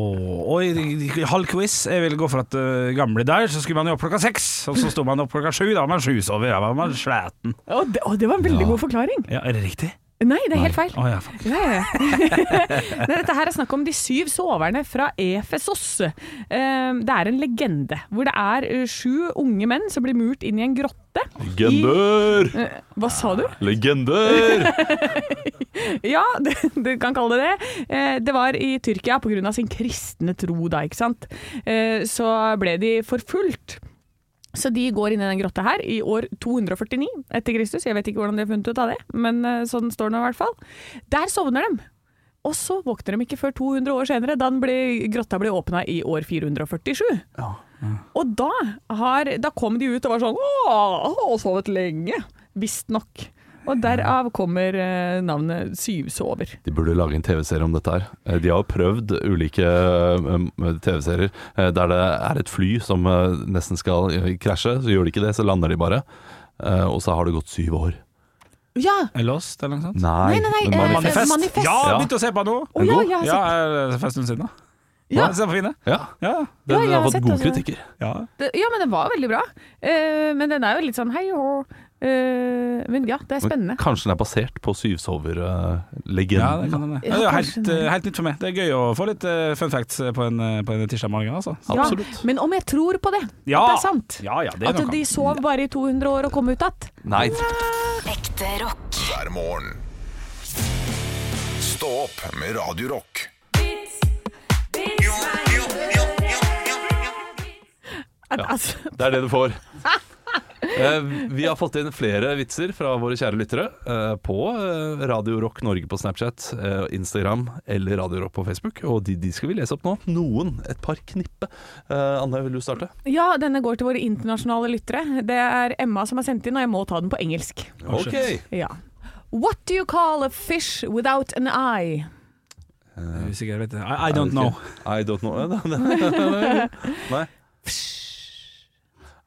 Speaker 3: og i, i, i halv quiz Jeg ville gå for at øh, gamle der Så skulle man jo opp klokka seks Og så stod man opp klokka sju Da var man sju sover Da var man sleten
Speaker 6: Og det, å, det var en veldig god forklaring.
Speaker 3: Ja, er det riktig?
Speaker 6: Nei, det er helt feil.
Speaker 3: Åja, faen
Speaker 6: Nei, nei, [LAUGHS] nei. Nei, dette her er snakk om de syv soverne fra Efesos. Eh, Det er en legende hvor det er eh, sju unge menn som blir murt inn i en grotte.
Speaker 4: Legender!
Speaker 6: Eh, Hva sa du?
Speaker 4: Legender!
Speaker 6: [LAUGHS] Ja, du, du kan kalle det det. Eh, Det var i Tyrkia pga. sin kristne tro, da, ikke sant. Eh, Så ble de forfulgt. Så de går inn i den grotta her i år 249 etter Kristus. Jeg vet ikke hvordan de har funnet ut av det, men eh, sånn står det nå i hvert fall. Der sovner de. Og så våkner de ikke før 200 år senere, da den ble, grotta ble åpna i år 447. Og da, har, da kom de ut og var sånn Åh, har sovet lenge. Visstnok. Og derav kommer eh, navnet Syvsover.
Speaker 4: De burde lage en TV-serie om dette her. Eh, De har jo prøvd ulike eh, TV-serier eh, der det er et fly som eh, nesten skal eh, krasje. Så gjør de ikke det, så lander de bare. Eh, Og så har det gått syv år.
Speaker 6: Ja!
Speaker 3: Lost eller noe sånt?
Speaker 4: Nei, men
Speaker 6: eh,
Speaker 4: manifest.
Speaker 3: Manifest.
Speaker 6: Manifest.
Speaker 3: Ja,
Speaker 4: Ja.
Speaker 3: begynte å se på nå
Speaker 6: Å, ja, jeg har
Speaker 3: Ja, er det for en stund siden da
Speaker 6: Ja.
Speaker 3: Ja, se på fine
Speaker 4: Ja,
Speaker 3: Ja,
Speaker 4: den
Speaker 6: Ja,
Speaker 4: har
Speaker 6: jeg har
Speaker 4: fått
Speaker 6: sett
Speaker 4: gode
Speaker 6: også.
Speaker 4: kritikker.
Speaker 3: ja
Speaker 6: Det, ja, men den var veldig bra. Eh, men den er jo litt sånn hei hå. Eh, men ja, det er spennende.
Speaker 4: Men Kanskje den er basert på
Speaker 3: ja, det
Speaker 4: syvsover-legenden.
Speaker 3: kan hende.
Speaker 6: Ja,
Speaker 3: Ja, det er
Speaker 6: kanskje
Speaker 3: helt,
Speaker 6: det.
Speaker 3: eh, helt nytt for meg Det er gøy å få litt eh, fun facts på en, eh, på en tirsdag morgen altså.
Speaker 6: Ja,
Speaker 4: Absolutt.
Speaker 6: Men om jeg tror på det,
Speaker 3: Ja.
Speaker 6: at det er sant?
Speaker 3: Ja, ja, det er
Speaker 6: At
Speaker 3: noe
Speaker 6: de sov bare i 200 år og kom ut igjen?
Speaker 4: Nei,
Speaker 1: Ekte rock.
Speaker 2: hver morgen. Stå opp med Radio Rock.
Speaker 6: At- Altså, [LAUGHS]
Speaker 4: det er det du får. Eh, Vi har fått inn flere vitser fra våre kjære lyttere eh, på eh, Radio Rock Norge på Snapchat, eh, Instagram eller Radio Rock på Facebook. Og de, de skal vi lese opp nå. Noen. Et par knippe. Eh, Anne, vil du starte?
Speaker 6: ja, denne går til våre internasjonale lyttere. Det er Emma som har sendt inn, og jeg må ta den på engelsk.
Speaker 4: OK.
Speaker 6: Ja. What do you call a fish without an eye?
Speaker 3: Jeg er usikker, jeg vet det. I, I don't know
Speaker 4: I don't know. [LAUGHS] Nei.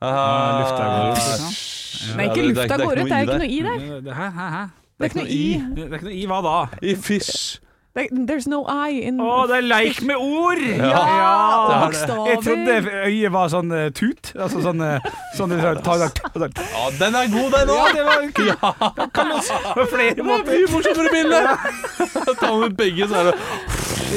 Speaker 4: Ah,
Speaker 3: lufta går ut,
Speaker 4: psh.
Speaker 6: Nei,
Speaker 4: Ja,
Speaker 6: ikke
Speaker 4: det- det er-
Speaker 6: lufta
Speaker 4: det er
Speaker 6: går ut, det er jo ikke noe i der.
Speaker 3: Hæ, hæ, hæ?
Speaker 6: Det er ikke noe i.
Speaker 3: Det er ikke noe i hva da?
Speaker 4: I fish
Speaker 6: There's no I in
Speaker 3: Å, det er leik med ord!
Speaker 6: Ja,
Speaker 3: Ja.
Speaker 6: Ah, bokstaver.
Speaker 3: Jeg trodde øyet var sånn eh, tut. Altså sånn, eh, sånn du tar- tar- tar- tar- tar-
Speaker 4: Ja, den er god, den
Speaker 3: Ja,
Speaker 4: òg!
Speaker 3: det var kult. Ja. Kan også, på flere
Speaker 4: Det er mye
Speaker 3: måter.
Speaker 4: morsommere bilde!
Speaker 3: [LAUGHS]
Speaker 4: Ta med begge, så er det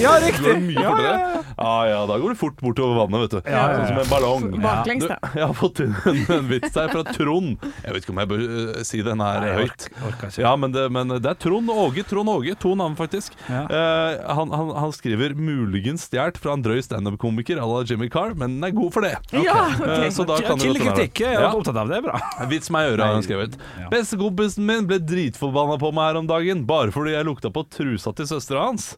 Speaker 3: Ja,
Speaker 4: går det
Speaker 3: riktig.
Speaker 4: mye
Speaker 3: Ja,
Speaker 4: fortere.
Speaker 3: ja, ja.
Speaker 4: Ja ja, da går det fort bortover vannet, vet du.
Speaker 3: ja, ja.
Speaker 4: Sånn som en ballong.
Speaker 6: Baklengs,
Speaker 4: Du,
Speaker 6: da.
Speaker 4: [LAUGHS] jeg har fått inn en, en vits her fra Trond. Jeg vet ikke om jeg bør eh, si den her
Speaker 3: Nei, jeg
Speaker 4: høyt.
Speaker 3: orker- orker ikke.
Speaker 4: ja, men det, men det er Trond Åge. Trond Åge, To navn, faktisk.
Speaker 3: Ja.
Speaker 4: Eh, han, han, han skriver 'muligens stjålet' fra en drøy standup-komiker à la Jimmy Carr, men den er god for det.
Speaker 6: Ja,
Speaker 4: Eh, så da kan det
Speaker 3: Chill
Speaker 4: godt være.
Speaker 3: kritikk. Jeg er opptatt av det. Bra.
Speaker 4: Vits meg i øret, har han skrevet.
Speaker 3: Ja.
Speaker 4: Bestekompisen min ble dritforbanna på meg her om dagen, bare fordi jeg lukta på trusa til søstera hans.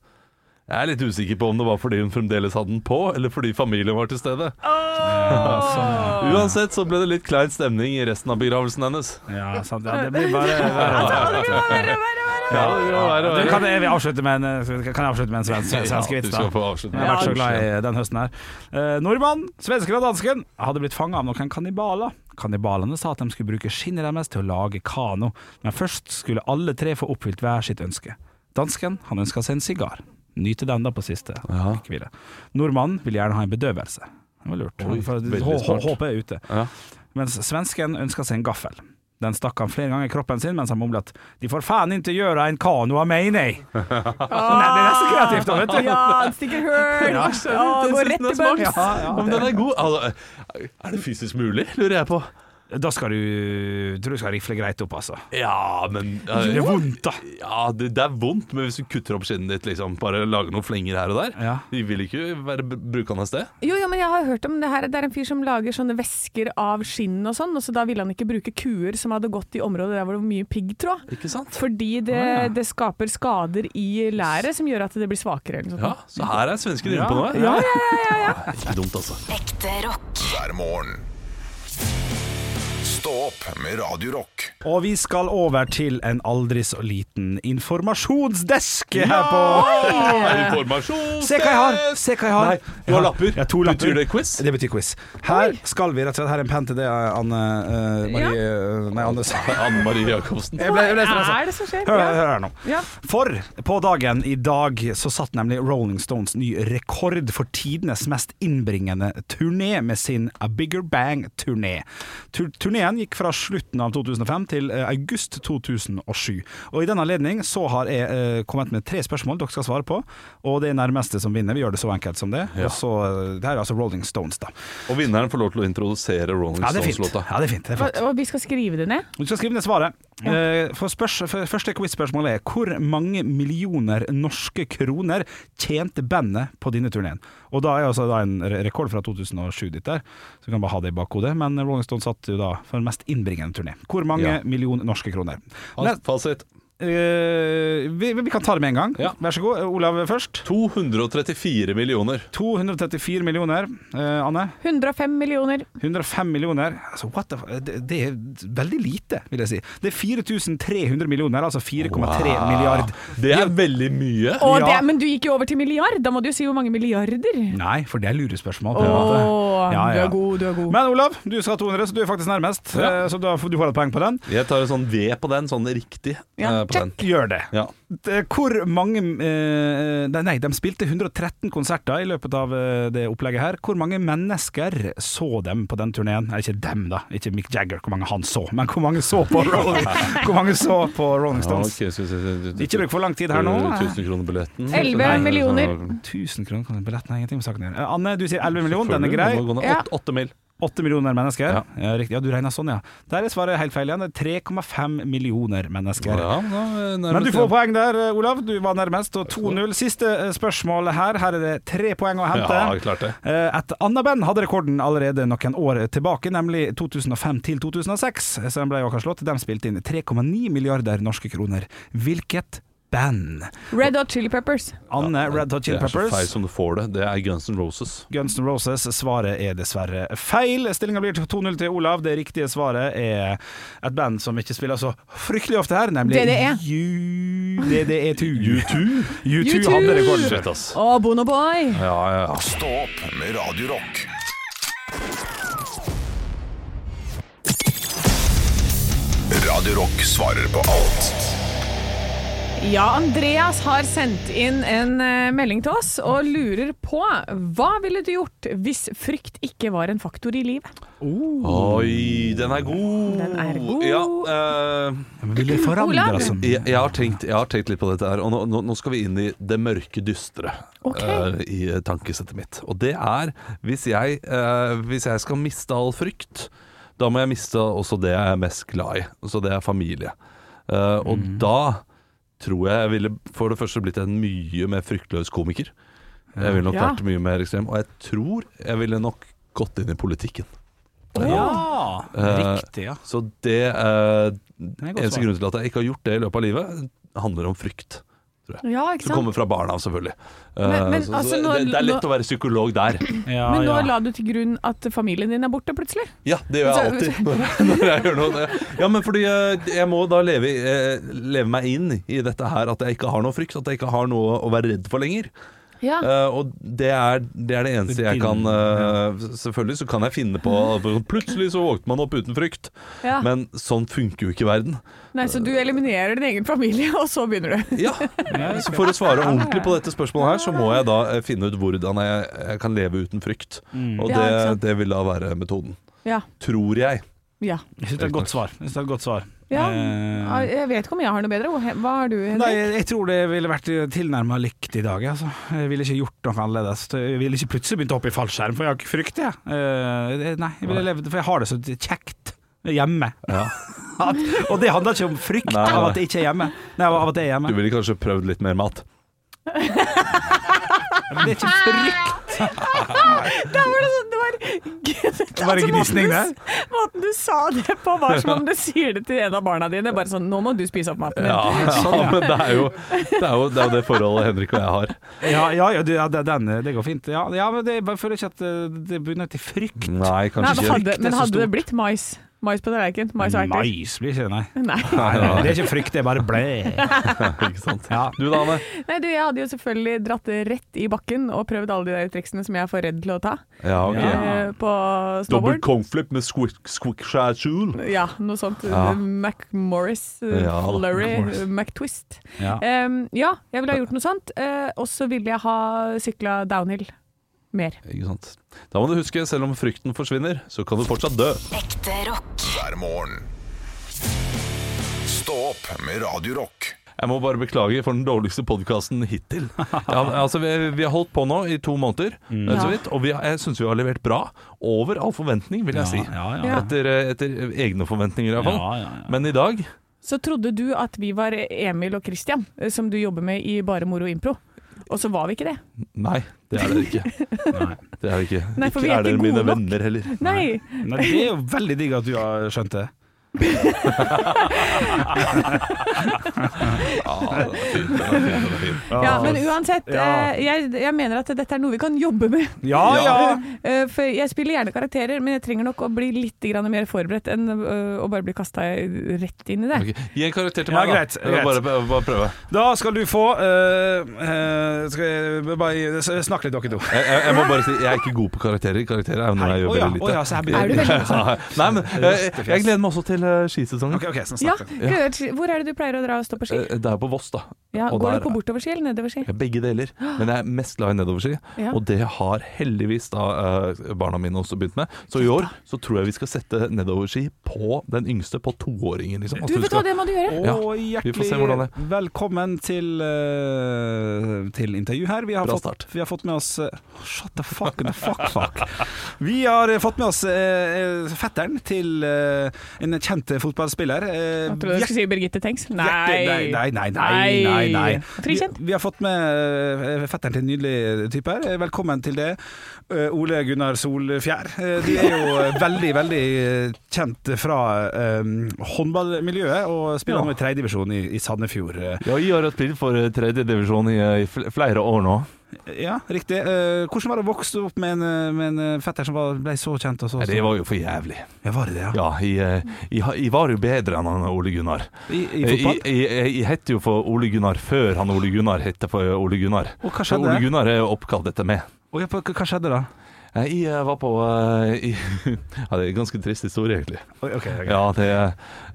Speaker 4: Jeg er litt usikker på om det var fordi hun fremdeles hadde den på, eller fordi familien var til stede.
Speaker 3: sånn,
Speaker 4: Uansett så ble det litt klein stemning i resten av begravelsen hennes.
Speaker 3: Ja, sant. Ja, det blir bare verre.
Speaker 4: Ja, det var verre og
Speaker 3: Du, kan,
Speaker 4: verre.
Speaker 3: jeg vil avslutte med en, eh, kan jeg avslutte med en svensk, svensk
Speaker 4: Ja,
Speaker 3: vits,
Speaker 4: du
Speaker 3: da?
Speaker 4: skal få avslutte.
Speaker 3: Jeg har vært så glad i den høsten her. Eh, nordmann, svensken og dansken hadde blitt fanga av noen kannibaler. Kannibalene sa at de skulle bruke skinnet deres til å lage kano, men først skulle alle tre få oppfylt hver sitt ønske. Dansken han ønska seg en sigar. Nyte den da på siste
Speaker 4: Ja.
Speaker 3: rekkevidde. Nordmannen ville gjerne ha en bedøvelse. Det var lurt.
Speaker 4: Oi,
Speaker 3: For
Speaker 4: veldig
Speaker 3: hå-
Speaker 4: smart.
Speaker 3: Håpet er ute.
Speaker 4: Ja.
Speaker 3: Mens svensken ønska seg en gaffel. Den stakk han flere ganger i kroppen sin mens han mumlet 'De får faen ikke gjøre en kano av meg, nei'.
Speaker 4: [LAUGHS]
Speaker 3: Nei, det er nesten kreativt, da, vet du.
Speaker 6: Ja, stikker hull!
Speaker 3: Ja.
Speaker 6: Å, går rett i bunns!
Speaker 4: Om den er god altså, Er det fysisk mulig, lurer jeg på.
Speaker 3: Da skal du tror du skal rifle greit opp, altså.
Speaker 4: Ja, men
Speaker 3: Det er vondt, da.
Speaker 4: Ja, det, det er vondt, men hvis du kutter opp skinnet ditt, liksom, bare lager noen flenger her og der
Speaker 3: Ja.
Speaker 4: De vil ikke være br- brukende sted.
Speaker 6: Jo, jo, men jeg har hørt om det her. Det er en fyr som lager sånne væsker av skinn og sånn, og så da ville han ikke bruke kuer som hadde gått i områder der hvor det var mye piggtråd.
Speaker 4: Ikke sant?
Speaker 6: Fordi det,
Speaker 3: Ah, ja.
Speaker 6: det skaper skader i læret som gjør at det blir svakere eller noe
Speaker 4: Ja,
Speaker 6: sånt.
Speaker 4: Så her er svensker inne på noe.
Speaker 3: Ja,
Speaker 4: [LAUGHS] Ikke dumt, altså.
Speaker 1: Ekte rock.
Speaker 2: hver morgen. Stå opp med Radio Rock.
Speaker 3: Og vi skal over til en aldri så liten informasjonsdesk her på
Speaker 4: Informasjon
Speaker 3: Se hva jeg har! Se hva jeg har!
Speaker 4: Nei, du har
Speaker 3: Ja,
Speaker 4: lapper.
Speaker 3: Ja, to lapper.
Speaker 4: Betyr det quiz?
Speaker 3: Det betyr quiz. Her skal vi rett og slett Her er en penn til det, Anne eh, Marie Nei, Anne
Speaker 4: Anne Marie Jacobsen.
Speaker 3: Jeg ble, jeg ble
Speaker 6: Hva
Speaker 3: stressa.
Speaker 6: er det altså. som skjer?
Speaker 3: Hør,
Speaker 6: Ja.
Speaker 3: hør her nå.
Speaker 6: Ja.
Speaker 3: For på dagen i dag så satt nemlig Rolling Stones ny rekord for tidenes mest innbringende turné med sin A Bigger Bang-turné. Tur turneen gikk fra slutten av 2005 til eh, august 2007. Og i den anledning så har jeg eh, kommet med tre spørsmål dere skal svare på, og det er nærmeste som vinner. Vi gjør det så enkelt som det. Og så, eh, det her er altså Rolling Stones, da.
Speaker 4: Og vinneren får lov til å introdusere Rolling
Speaker 3: Ja, det er fint.
Speaker 4: Stones-låta.
Speaker 3: Ja, det er fint. Det er flott.
Speaker 6: Og, og vi skal skrive det ned?
Speaker 3: Du skal skrive ned svaret. Eh, For, spørs, for Første quiz-spørsmål er hvor mange millioner norske kroner tjente bandet på denne turneen? Og da er altså da en re- rekord fra 2007 ditt der, så vi kan bare ha det i bakhodet. Men Rolling Stones satt jo da for den mest innbringende turné. Hvor mange
Speaker 4: Ja.
Speaker 3: millioner norske kroner?
Speaker 4: Hans Fasit
Speaker 3: Eh, vi, vi kan ta det med en gang.
Speaker 4: Ja.
Speaker 3: Vær så god. Olav først.
Speaker 4: 234 millioner.
Speaker 3: 234 millioner. Eh, Anne?
Speaker 6: 105 millioner.
Speaker 3: 105 millioner, altså what the fuck, det, det er veldig lite, vil jeg si. Det er 4300 millioner, altså 4,3 milliard.
Speaker 4: Det er veldig mye.
Speaker 6: Å,
Speaker 3: Ja.
Speaker 6: det, men du gikk jo over til milliard! Da må du jo si hvor mange milliarder.
Speaker 3: Nei, for det er lurespørsmål. på
Speaker 6: Å,
Speaker 3: en måte. Ja,
Speaker 6: du
Speaker 3: ja.
Speaker 6: er god, du er god.
Speaker 3: Men Olav, du skal ha 200, så du er faktisk nærmest.
Speaker 4: Ja.
Speaker 3: eh, Så da får- du får et poeng på den.
Speaker 4: Jeg tar en sånn V på den, sånn riktig
Speaker 6: Ja,
Speaker 4: eh, på den.
Speaker 3: Gjør det.
Speaker 4: Ja.
Speaker 3: Det- Hvor mange eh, nei, nei, de spilte 113 konserter i løpet av eh, det opplegget her. Hvor mange mennesker så dem på den turneen? Nei, ikke dem, da. Ikke Mick Jagger, hvor mange han så. Men hvor mange så
Speaker 6: [LAUGHS]
Speaker 3: på Rolling, hvor mange så på Rolling Stones? Ikke bruk for lang tid her nå.
Speaker 4: 1000 kroner billetten.
Speaker 6: 11
Speaker 4: Nei,
Speaker 6: millioner.
Speaker 4: sånn-
Speaker 3: 1000 kroner kan billetten har ingenting med saken å gjøre. Eh, Anne, du sier 11 millioner, den er grei.
Speaker 4: Selvfølgelig, må gå ned.
Speaker 6: Ja.
Speaker 4: Åtte- Åtte mil.
Speaker 3: 8 millioner mennesker. Ja,
Speaker 4: Ja.
Speaker 3: riktig. Ja, du regner sånn, ja. Der er svaret helt feil igjen. Det er 3,5 millioner mennesker.
Speaker 4: Ja, da er nærmest
Speaker 3: Men du får
Speaker 4: igjen.
Speaker 3: poeng der, eh, Olav. Du var nærmest. Og 2-0. Siste eh, spørsmål her. Her er det tre poeng å hente.
Speaker 4: Ja, klart det.
Speaker 3: Eh, Et annet band hadde rekorden allerede noen år tilbake, nemlig 2005 til 2006. Så den ble jo akkurat slått. De spilte inn 3,9 milliarder norske kroner. Hvilket band?
Speaker 6: Red Hot Chili Peppers.
Speaker 3: Anne Red Hot Chili
Speaker 4: Det er så feil
Speaker 3: Peppers.
Speaker 4: som du får det. Det er Guns N' Roses.
Speaker 3: Guns N' Roses. Svaret er dessverre feil. Stillinga blir 2-0 til Olav. Det riktige svaret er et band som ikke spiller så fryktelig ofte her, nemlig
Speaker 6: DDE.
Speaker 3: U- DDE2. U2.
Speaker 6: U2.
Speaker 3: hadde rekorden.
Speaker 4: Fett, ass.
Speaker 6: Å, Bono Boy!
Speaker 4: Ja, ja, ja.
Speaker 2: Stå opp med Radio Rock. Radio Rock svarer på alt
Speaker 6: Ja, Andreas har sendt inn en eh, melding til oss og lurer på hva ville du gjort hvis frykt ikke var en faktor i livet?
Speaker 4: Oi, den er god!
Speaker 6: Den er god.
Speaker 4: Ja, eh,
Speaker 3: Ville forandra
Speaker 6: Olav?
Speaker 3: som
Speaker 4: jeg, jeg, har tenkt, jeg har tenkt litt på dette her, og nå, nå, nå skal vi inn i det mørke dystre
Speaker 6: Ok.
Speaker 4: eh, i tankesettet mitt. Og det er hvis jeg, eh, hvis jeg skal miste all frykt, da må jeg miste også det jeg er mest glad i, så det er familie. Eh, og
Speaker 3: Mm.
Speaker 4: da tror jeg jeg ville for det første blitt en mye mer fryktløs komiker. Jeg ville nok
Speaker 6: Ja.
Speaker 4: vært mye mer ekstrem, og jeg tror jeg ville nok gått inn i politikken.
Speaker 3: Ja,
Speaker 4: Eh,
Speaker 3: riktig, ja.
Speaker 4: Så det eh,
Speaker 3: Det er godt
Speaker 4: Eneste
Speaker 3: svar.
Speaker 4: grunnen til at jeg ikke har gjort det i løpet av livet, handler om frykt.
Speaker 6: Ja, ikke
Speaker 4: Som kommer fra barna, selvfølgelig. Eh,
Speaker 6: Men- men
Speaker 4: så,
Speaker 6: altså,
Speaker 4: så
Speaker 6: nå-
Speaker 4: det, det er lett
Speaker 6: nå-
Speaker 4: å være psykolog der.
Speaker 3: Ja,
Speaker 6: Men nå
Speaker 3: ja.
Speaker 6: la du til grunn at familien din er borte plutselig.
Speaker 4: Ja, det gjør jeg alltid
Speaker 6: [LAUGHS]
Speaker 4: [LAUGHS] når jeg, når jeg gjør noe. Ja, men fordi eh, jeg må da leve, i- eh, leve meg inn i dette her, at jeg ikke har noe frykt, at jeg ikke har noe å være redd for lenger.
Speaker 6: Ja.
Speaker 4: Eh, og det er, det er det eneste jeg kan eh, Selvfølgelig så kan jeg finne på Plutselig så våkner man opp uten frykt.
Speaker 6: Ja.
Speaker 4: Men sånn funker jo ikke verden.
Speaker 6: Nei, Så du eliminerer din egen familie, [LAUGHS] og så begynner du.
Speaker 4: Ja, så for å svare ordentlig på dette spørsmålet her, så må jeg da eh, finne ut hvordan jeg, jeg kan leve uten frykt.
Speaker 3: Mm.
Speaker 4: Og
Speaker 6: Ja,
Speaker 4: det,
Speaker 6: ikke sant.
Speaker 4: det vil da være metoden.
Speaker 6: Ja.
Speaker 4: Tror jeg.
Speaker 6: ja.
Speaker 3: Jeg syns det er et godt svar. Jeg synes det er et godt svar.
Speaker 6: ja. Ah,
Speaker 3: Eh,
Speaker 6: Jeg vet ikke om jeg har noe bedre. Hva har du,
Speaker 3: Nei,
Speaker 6: [LAUGHS] Henrik?
Speaker 3: jeg, jeg tror det ville vært tilnærma likt i dag. jeg, Altså. Jeg ville ikke gjort noe annerledes. Jeg ville ikke plutselig begynt å hoppe i fallskjerm, for jeg har ikke frykt, jeg. Eh, det- nei, jeg ville levd, for jeg har det så kjekt hjemme. [LAUGHS] At, og det handler ikke om frykt
Speaker 4: Nei,
Speaker 3: av
Speaker 4: nei.
Speaker 3: at jeg ikke er hjemme. Nei, av at jeg er hjemme.
Speaker 4: Du ville kanskje prøvd litt mer mat.
Speaker 3: Men det er ikke frykt.
Speaker 6: Der var det sånn Det var, [LAUGHS] Altså, det
Speaker 3: var en gnisning der.
Speaker 6: Måten du sa det på, var som om du sier det til en av barna dine. Bare sånn Nå må du spise opp maten. din."
Speaker 4: Ja, men det er, jo, det er jo det er jo det forholdet Henrik og jeg har.
Speaker 3: Ja, ja, ja, du, ja det, den, det går fint. Ja, ja men det, jeg føler ikke at eh, det bunner til frykt.
Speaker 4: Nei,
Speaker 6: Nei,
Speaker 4: kanskje
Speaker 6: men
Speaker 4: ikke.
Speaker 6: hadde,
Speaker 3: Frykt er
Speaker 6: men
Speaker 3: så
Speaker 6: hadde det
Speaker 3: stort.
Speaker 6: blitt mais? Mais på tallerken? Mais og erter?
Speaker 3: Mais blir ikke det, nei.
Speaker 6: [LAUGHS] Nei.
Speaker 3: Nei, nei. Det er ikke frykt, det er bare blæ.
Speaker 4: [LAUGHS] Ikke sant?
Speaker 3: Ja.
Speaker 4: Du da, Anne?
Speaker 6: Nei, du, jeg hadde jo selvfølgelig dratt det rett i bakken og prøvd alle de der triksene som jeg er for redd til å ta
Speaker 4: Ja, ok.
Speaker 6: eh, på
Speaker 4: Dobbel
Speaker 6: snowboard.
Speaker 4: kongflip med squick-squick-shazul.
Speaker 6: Ja, noe sånt.
Speaker 4: Ja.
Speaker 6: McMorris, eh,
Speaker 4: Ja, da.
Speaker 6: Flurry,
Speaker 4: McMorris.
Speaker 6: eh, McTwist.
Speaker 3: Ja.
Speaker 6: Em, ja, jeg ville ha gjort noe sånt. eh, og så ville jeg ha sykla downhill mer.
Speaker 4: Ikke sant. Da må du huske, selv om frykten forsvinner, så kan du fortsatt dø.
Speaker 1: Ekte rock.
Speaker 2: hver morgen. Stå opp med Radio Rock.
Speaker 4: Jeg må bare beklage for den dårligste podkasten
Speaker 3: [LAUGHS]
Speaker 4: hittil. Ja, men altså, vi, vi har holdt på nå i to måneder,
Speaker 3: Mm.
Speaker 4: eh, så vidt, og vi, har- jeg syns vi har levert bra. Over all forventning, vil jeg si.
Speaker 3: Ja, ja,
Speaker 6: Ja.
Speaker 4: Etter, eh, etter egne forventninger, iallfall.
Speaker 3: Ja, ja, ja.
Speaker 4: Men i dag
Speaker 6: Så trodde du at vi var Emil og Christian, eh, som du jobber med i Bare moro impro. Og så var vi ikke det.
Speaker 4: Nei, det er dere ikke. Det er dere ikke.
Speaker 6: Nei, for vi
Speaker 4: ikke
Speaker 6: er
Speaker 4: er dere
Speaker 6: ikke
Speaker 4: mine
Speaker 6: gode nok.
Speaker 4: venner heller.
Speaker 6: Nei!
Speaker 3: Nei, det er jo veldig digg at du har skjønt det.
Speaker 4: Ja, det er fint, det er fint, det er fint.
Speaker 6: Ja, men uansett,
Speaker 3: Ja.
Speaker 6: eh, jeg, jeg mener at dette er noe vi kan jobbe med.
Speaker 3: Ja, ja!
Speaker 6: [LAUGHS] Eh, For jeg spiller gjerne karakterer, men jeg trenger nok å bli litt grann mer forberedt enn eh, å bare bli kasta rett inn i det.
Speaker 4: Ok, Gi en karakter til
Speaker 3: Ja,
Speaker 4: meg, da.
Speaker 3: greit,
Speaker 4: Jeg vil Bare, bare prøve.
Speaker 3: Da skal du få eh, eh, Skal jeg bare s- snakke litt, dere to.
Speaker 4: Jeg, jeg, jeg må bare si, jeg er ikke god på karakterer. Karakterer er jo noe jeg gjør
Speaker 3: Å ja,
Speaker 4: veldig
Speaker 3: å
Speaker 4: lite.
Speaker 3: ja, så her blir
Speaker 6: Er du
Speaker 4: [LAUGHS]
Speaker 6: veldig god?
Speaker 4: Ja, Nei, men jeg, jeg gleder meg også til eh, skisesongen.
Speaker 3: Ok, ok, så
Speaker 6: Ja,
Speaker 3: snakk litt.
Speaker 6: gleder til- Hvor er det du pleier å dra og stå på ski?
Speaker 4: Eh, Det er på Voss, da.
Speaker 6: Ja,
Speaker 4: og
Speaker 6: går
Speaker 4: der-
Speaker 6: du på bortoverski eller nedoverski?
Speaker 4: Ja, Begge deler, men jeg er mest glad i nedoverski.
Speaker 6: Ja.
Speaker 4: Og det har heldigvis da eh, barna mine også begynt med. Så i år så tror jeg vi skal sette nedoverski på den yngste, på toåringen. Liksom.
Speaker 6: Du,
Speaker 4: Altså, vi
Speaker 6: vet du
Speaker 4: skal-
Speaker 6: hva, det må du gjøre!
Speaker 4: Ja,
Speaker 3: Og
Speaker 4: vi får
Speaker 3: hjertelig
Speaker 4: se hvordan det
Speaker 3: velkommen til, eh, til intervju her. Vi har,
Speaker 4: Bra
Speaker 3: fått,
Speaker 4: start.
Speaker 3: vi har fått med oss eh, Shut the fuck, the fuck, fuck. Vi har eh, fått med oss eh, eh, fetteren til eh, en kjent fotballspiller. eh,
Speaker 6: Jeg trodde du skulle si Birgitte Tengs. Nei.
Speaker 3: Hjerte- Nei, nei, nei, nei, nei, nei.
Speaker 6: Frikjent.
Speaker 3: Vi, vi har fått med eh, fetteren til en nydelig type her. Eh, Velkommen til det, eh, Ole Gunnar Solfjær. Eh, Du er jo eh, veldig, veldig eh, kjent fra eh, håndballmiljøet, og spiller nå i tredjedivisjon i, i Sandefjord. Eh,
Speaker 4: Ja, jeg har spilt for eh, tredje divisjon i, eh, i fl- flere år nå.
Speaker 3: Ja, riktig. Eh, Hvordan var det å vokse opp med en, eh, med en eh, fetter som var, ble så kjent? Og så,
Speaker 4: Nei, Det var jo for jævlig.
Speaker 3: Ja, var det det, ja?
Speaker 4: Ja, jeg, eh, jeg, har- jeg var jo bedre enn han Ole Gunnar. Eh,
Speaker 3: I, I
Speaker 4: Jeg,
Speaker 3: fotball?
Speaker 4: jeg, jeg, jeg hette jo for Ole Gunnar før han Ole Gunnar hette for Ole Gunnar.
Speaker 3: Og hva
Speaker 4: Så Ole
Speaker 3: skjedde?
Speaker 4: Gunnar er jo oppkalt etter meg.
Speaker 3: Å, ja, hva hva skjedde da?
Speaker 4: Eh, Jeg eh, var på eh, i, [LAUGHS] ja, Det er en ganske trist historie, egentlig.
Speaker 3: Oi, ok, ok.
Speaker 4: Ja, det,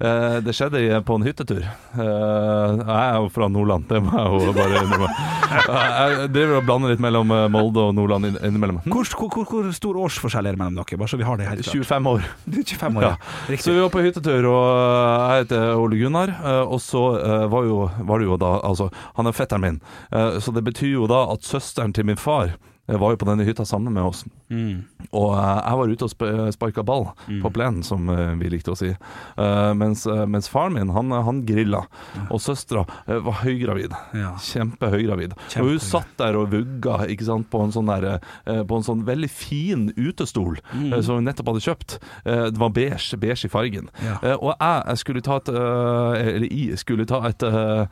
Speaker 4: eh, det skjedde i- på en hyttetur. Eh, Jeg er jo fra Nordland, det må jeg jo bare innrømme. Eh, Jeg driver og blander litt mellom eh, Molde og Nordland inn- innimellom. Hm,
Speaker 3: Hvor, hvor, hvor, hvor stor årsforskjell er det mellom dere? Bare så vi har det helt klart.
Speaker 4: 25 år.
Speaker 3: 25 år,
Speaker 4: Ja.
Speaker 3: ja.
Speaker 4: Så
Speaker 3: Riktig.
Speaker 4: vi var på hyttetur, og eh, jeg heter Ole Gunnar. eh, Og så eh, var, jo, var det jo da Altså, han er fetteren min, eh, så det betyr jo da at søsteren til min far eh, var jo på denne hytta sammen med oss. Og eh, jeg var ute og sp sparka ball
Speaker 3: Mm.
Speaker 4: på plenen, som eh, vi likte å si. Eh, mens, eh, mens faren min, han, han grilla. Og søstera eh, var høygravid.
Speaker 3: Ja.
Speaker 4: Kjempehøygravid.
Speaker 3: Kjempe-
Speaker 4: Og hun satt der og vugga ikke sant, på, en sånn der, eh, på en sånn veldig fin utestol
Speaker 3: Mm.
Speaker 4: eh, som hun nettopp hadde kjøpt. Eh, det var beige, beige i fargen.
Speaker 3: Ja.
Speaker 4: Eh, og jeg, jeg skulle ta et eh, Eller jeg skulle ta et, eh,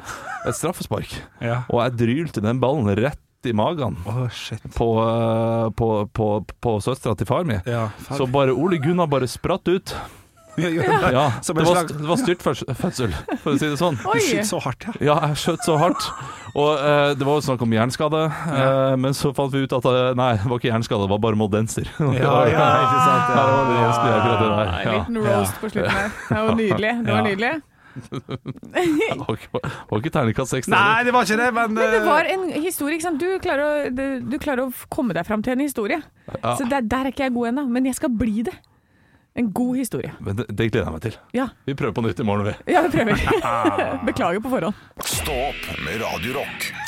Speaker 4: et straffespark.
Speaker 3: Ja.
Speaker 4: Og jeg drylte den ballen rett i magen
Speaker 3: Å, shit.
Speaker 4: på, eh, på, på, på søstera til far min.
Speaker 3: Ja,
Speaker 4: Så bare Ole Gunnar bare spratt ut.
Speaker 3: [LAUGHS] Ja, ja. [LAUGHS]
Speaker 4: Ja, det
Speaker 3: Som en
Speaker 4: var,
Speaker 3: slag-
Speaker 4: det var styrtfødsel, for å si det sånn.
Speaker 3: Du skyter så hardt, ja.
Speaker 4: Ja, jeg skjøt så hardt. Og eh, det var jo snakk om hjerneskade, eh, men så fant vi ut at eh, nei, det var ikke hjerneskade, det var bare moldenser. [LAUGHS]
Speaker 3: Ja, ja, ikke sant,
Speaker 4: Ja, det var det jeg skulle gjøre akkurat det der.
Speaker 6: En
Speaker 4: Ja.
Speaker 6: liten roast på slutten her. Det var nydelig. Det var
Speaker 3: Ja.
Speaker 6: nydelig.
Speaker 4: Det var ikke- det var ikke terningkast seks.
Speaker 3: Nei, det var ikke det, men,
Speaker 6: Men det var en historie, ikke sant. Du klarer å, du- du klarer å komme deg fram til en historie.
Speaker 4: Ja.
Speaker 6: Så der, der er ikke jeg god ennå, men jeg skal bli det. En god historie.
Speaker 4: Men det, det gleder jeg meg til.
Speaker 6: Ja,
Speaker 4: Vi prøver på nytt i morgen, vi.
Speaker 6: ja vi prøver. Beklager på forhånd.
Speaker 2: Stå opp med Radio Rock.